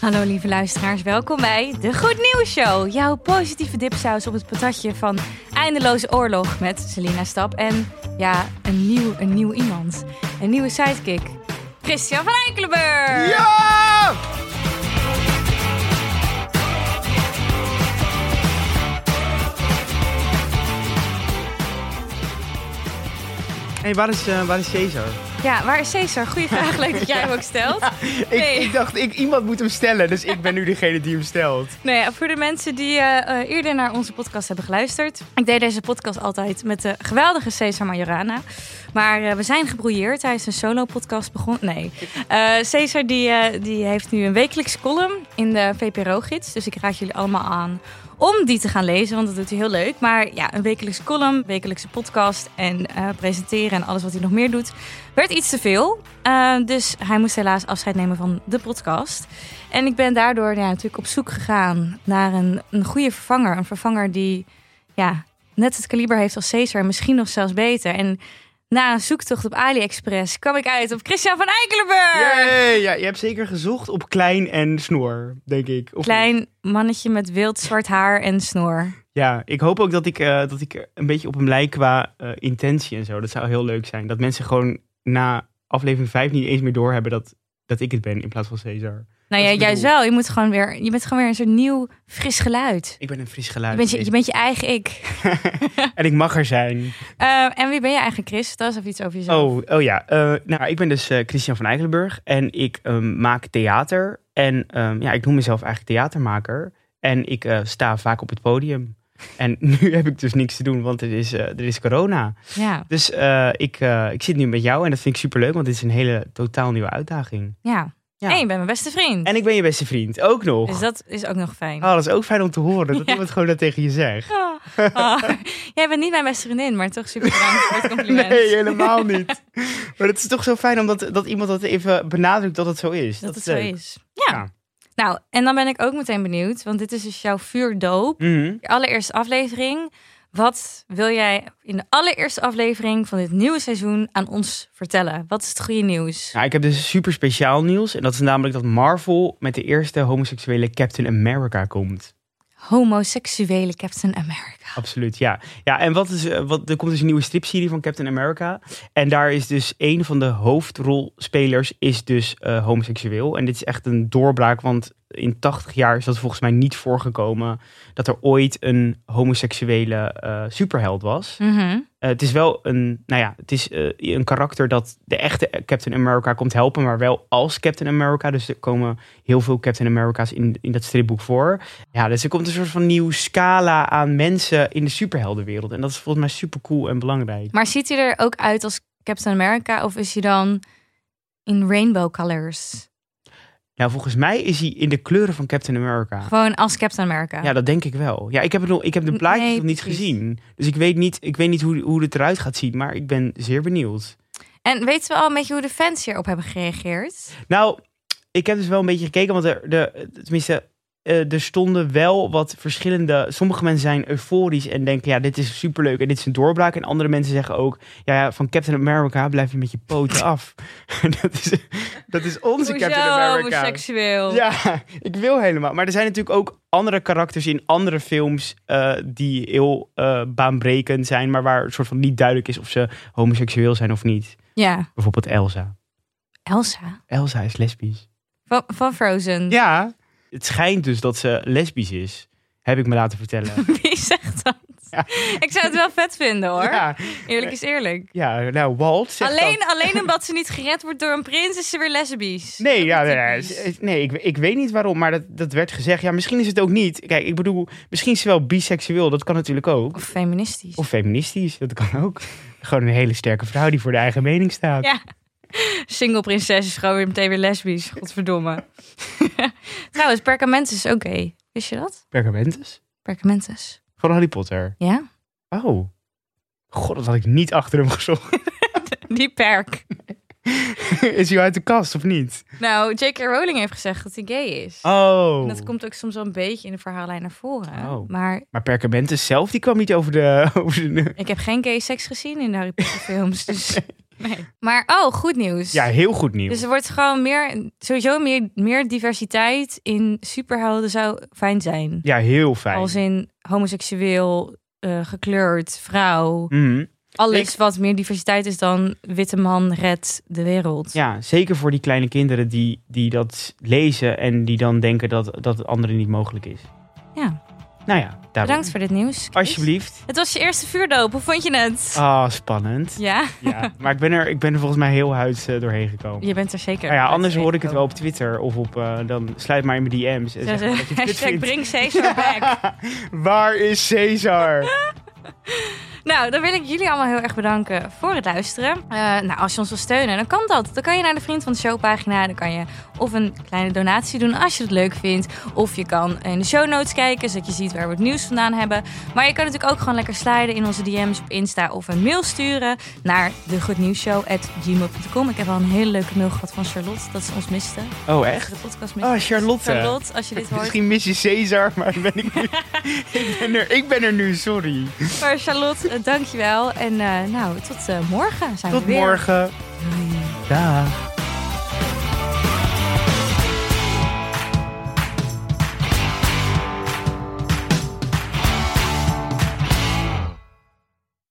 Hallo lieve luisteraars, welkom bij de Goed Nieuws Show. Jouw positieve dipsaus op het patatje van Eindeloze Oorlog met Selina Stap. En ja, een nieuw, een nieuw iemand. Een nieuwe sidekick. Christian van Eikelenburg. Ja! hey, waar is, eh, waar is Cesar? Ja, waar is Cesar? Goeie vraag, leuk dat jij hem ook stelt. Nee. Ik, ik dacht, ik, iemand moet hem stellen, dus ik ben nu degene die hem stelt. Nou ja, voor de mensen die eh, eh, eerder naar onze podcast hebben geluisterd. Ik deed deze podcast altijd met de geweldige Cesar Majorana. Maar eh, we zijn gebrouilleerd. Hij is een solo-podcast begonnen. Nee. Eh, Cesar die, eh, die heeft nu een wekelijks column in de VPRO-gids. Dus ik raad jullie allemaal aan om die te gaan lezen, want dat doet hij heel leuk. Maar ja, een wekelijks column, wekelijkse podcast en eh, presenteren en alles wat hij nog meer doet, werd iets te veel. Eh, dus hij moest helaas afscheid nemen van de podcast. En ik ben daardoor ja, natuurlijk op zoek gegaan naar een, een goede vervanger. Een vervanger die ja, net het kaliber heeft als Caesar en misschien nog zelfs beter. En na een zoektocht op AliExpress kwam ik uit op Christian van Eikelenburg. Yay! Ja, je hebt zeker gezocht op klein en snoer, denk ik. Of Klein mannetje met wild zwart haar en snor. Ja, ik hoop ook dat ik, eh, dat ik een beetje op hem lijk qua eh, intentie en zo. Dat zou heel leuk zijn. Dat mensen gewoon na aflevering 5 niet eens meer doorhebben dat, dat ik het ben in plaats van Cesar. Nou ja, Dat is juist bedoeld. wel. Je, moet gewoon weer, je bent gewoon weer een soort nieuw, fris geluid. Ik ben een fris Je geluid. bent je, je, bent je eigen ik. en ik mag er zijn. Eh, en wie ben je eigenlijk, Chris? Vertel eens even iets over jezelf. Oh, oh ja. Eh, nou, ik ben dus eh, Christian van Eikelenburg en ik ehm, maak theater. En ehm, ja, ik noem mezelf eigenlijk theatermaker. En ik eh, sta vaak op het podium. En nu heb ik dus niks te doen, want er is, eh, er is corona. Ja, Dus eh, ik, eh, ik zit nu met jou en dat vind ik superleuk, want dit is een hele totaal nieuwe uitdaging. ja. Ja. En je bent mijn beste vriend. En ik ben je beste vriend, ook nog. Dus dat is ook nog fijn. Oh, dat is ook fijn om te horen, dat Ja. iemand gewoon dat tegen je zegt. Ah, ah. Jij bent niet mijn beste vriendin, maar toch super bedankt voor het compliment. Nee, helemaal niet. maar het is toch zo fijn omdat dat iemand dat even benadrukt dat het zo is. dat het is zo leuk. is. Ja. Ja. Nou, en dan ben ik ook meteen benieuwd, want dit is dus jouw vuurdoop. Mhm. Je allereerste aflevering. Wat wil jij in de allereerste aflevering van dit nieuwe seizoen aan ons vertellen? Wat is het goede nieuws? Nou, ik heb dus super speciaal nieuws. En dat is namelijk dat Marvel met de eerste homoseksuele Captain America komt. Homoseksuele Captain America. Absoluut, ja. Ja, en wat is, eh, wat, er komt dus een nieuwe stripserie van Captain America. En daar is dus een van de hoofdrolspelers is dus eh, homoseksueel. En dit is echt een doorbraak, want in 80 jaar is dat volgens mij niet voorgekomen... dat er ooit een homoseksuele eh, superheld was. Mhm. Eh, het is wel een, nou ja, het is eh, een karakter dat de echte Captain America komt helpen, maar wel als Captain America. Dus er komen heel veel Captain America's in, in dat stripboek voor. Ja, dus er komt een soort van nieuw scala aan mensen in de superheldenwereld. En dat is volgens mij super cool en belangrijk. Maar ziet hij er ook uit als Captain America of is hij dan in rainbow colors? Nou, volgens mij is hij in de kleuren van Captain America. Gewoon als Captain America. Ja, dat denk ik wel. Ja, ik heb, het nog, ik heb de plaatjes Nee, nog niet precies. gezien. Dus ik weet niet, ik weet niet hoe, hoe het eruit gaat zien, maar ik ben zeer benieuwd. En weten we al een beetje hoe de fans hierop hebben gereageerd? Nou, ik heb dus wel een beetje gekeken, want er, de, tenminste, eh, er stonden wel wat verschillende. Sommige mensen zijn euforisch en denken: ja, dit is superleuk en dit is een doorbraak. En andere mensen zeggen ook: ja, ja, van Captain America blijf je met je poten af. dat, is, dat is onze Captain America. homoseksueel? Ja, ik wil helemaal. Maar er zijn natuurlijk ook andere karakters in andere films eh, die heel eh, baanbrekend zijn, maar waar het soort van niet duidelijk is of ze homoseksueel zijn of niet. Ja. Bijvoorbeeld Elsa. Elsa. Elsa is lesbisch. Van, van Frozen. Ja. Het schijnt dus dat ze lesbisch is. Heb ik me laten vertellen. Wie zegt dat? Ja. Ik zou het wel vet vinden hoor. Ja, Eerlijk is eerlijk. ja, nou, Walt zegt Alleen, dat- alleen omdat ze niet gered wordt door een prins is ze weer lesbisch. Nee, ja, nee, nee, typisch. s- nee ik, ik weet niet waarom, maar dat, dat werd gezegd. Ja, misschien is het ook niet. Kijk, ik bedoel, misschien is ze wel biseksueel. Dat kan natuurlijk ook. Of feministisch. Of feministisch, dat kan ook. Gewoon een hele sterke vrouw die voor de eigen mening staat. Ja. Single prinses is gewoon weer meteen weer lesbisch. Godverdomme. Trouwens, Perkamentus is ook gay. Wist je dat? Pergamentus? Perkamentus. Van Harry Potter. Ja? Oh. God, dat had ik niet achter hem gezocht. Die perk. is hij uit de kast of niet? Nou, J.K. Rowling heeft gezegd dat hij gay is. Oh. En dat komt ook soms wel een beetje in de verhaallijn naar voren. Oh. Maar Maar Perkamentus zelf, die kwam niet over de... Over de ik heb geen gay seks gezien in de Harry Potter films. Dus Nee. Maar oh, goed nieuws. Ja, heel goed nieuws. Dus er wordt gewoon meer, sowieso meer, meer diversiteit in superhelden zou fijn zijn. Ja, heel fijn. Als in homoseksueel, eh, gekleurd, vrouw. Mhm. Alles wat meer diversiteit is dan witte man redt de wereld. Ja, zeker voor die kleine kinderen die, die dat lezen en die dan denken dat, dat het anderen niet mogelijk is. Ja. Nou ja, daarom. Bedankt voor dit nieuws. Chris. Alsjeblieft. Het was je eerste vuurdoop. Hoe vond je het? Ah, spannend. Ja, Ja, maar ik ben, er, ik ben er volgens mij heel huids eh, doorheen gekomen. je bent er zeker. Nou ja, anders hoor ik het wel op Twitter of op... eh, dan sluit maar in mijn DM's en Zo, zeg zo, maar dat je het kut Hashtag vindt. bring Caesar back. Waar is Caesar? Nou, dan wil ik jullie allemaal heel erg bedanken voor het luisteren. Eh, nou, als je ons wil steunen, dan kan dat. Dan kan je naar de Vriend van de Show pagina. Dan kan je of een kleine donatie doen als je het leuk vindt. Of je kan in de show notes kijken, zodat je ziet waar we het nieuws vandaan hebben. Maar je kan natuurlijk ook gewoon lekker sliden in onze DM's op Insta of een mail sturen naar degoednieuwsshow.gmail.com. Ik heb al een hele leuke mail gehad van Charlotte, dat ze ons miste. Oh, Dat ze echt? de podcast miste. Oh, Charlotte. Charlotte, als je dit hoort. Misschien mis je Caesar, maar ben ik, nu, ik, ben er, ik ben er nu, sorry. Maar Charlotte, eh, dankjewel. En eh, nou, tot eh, morgen zijn Tot we weer. morgen. Doei. Dag.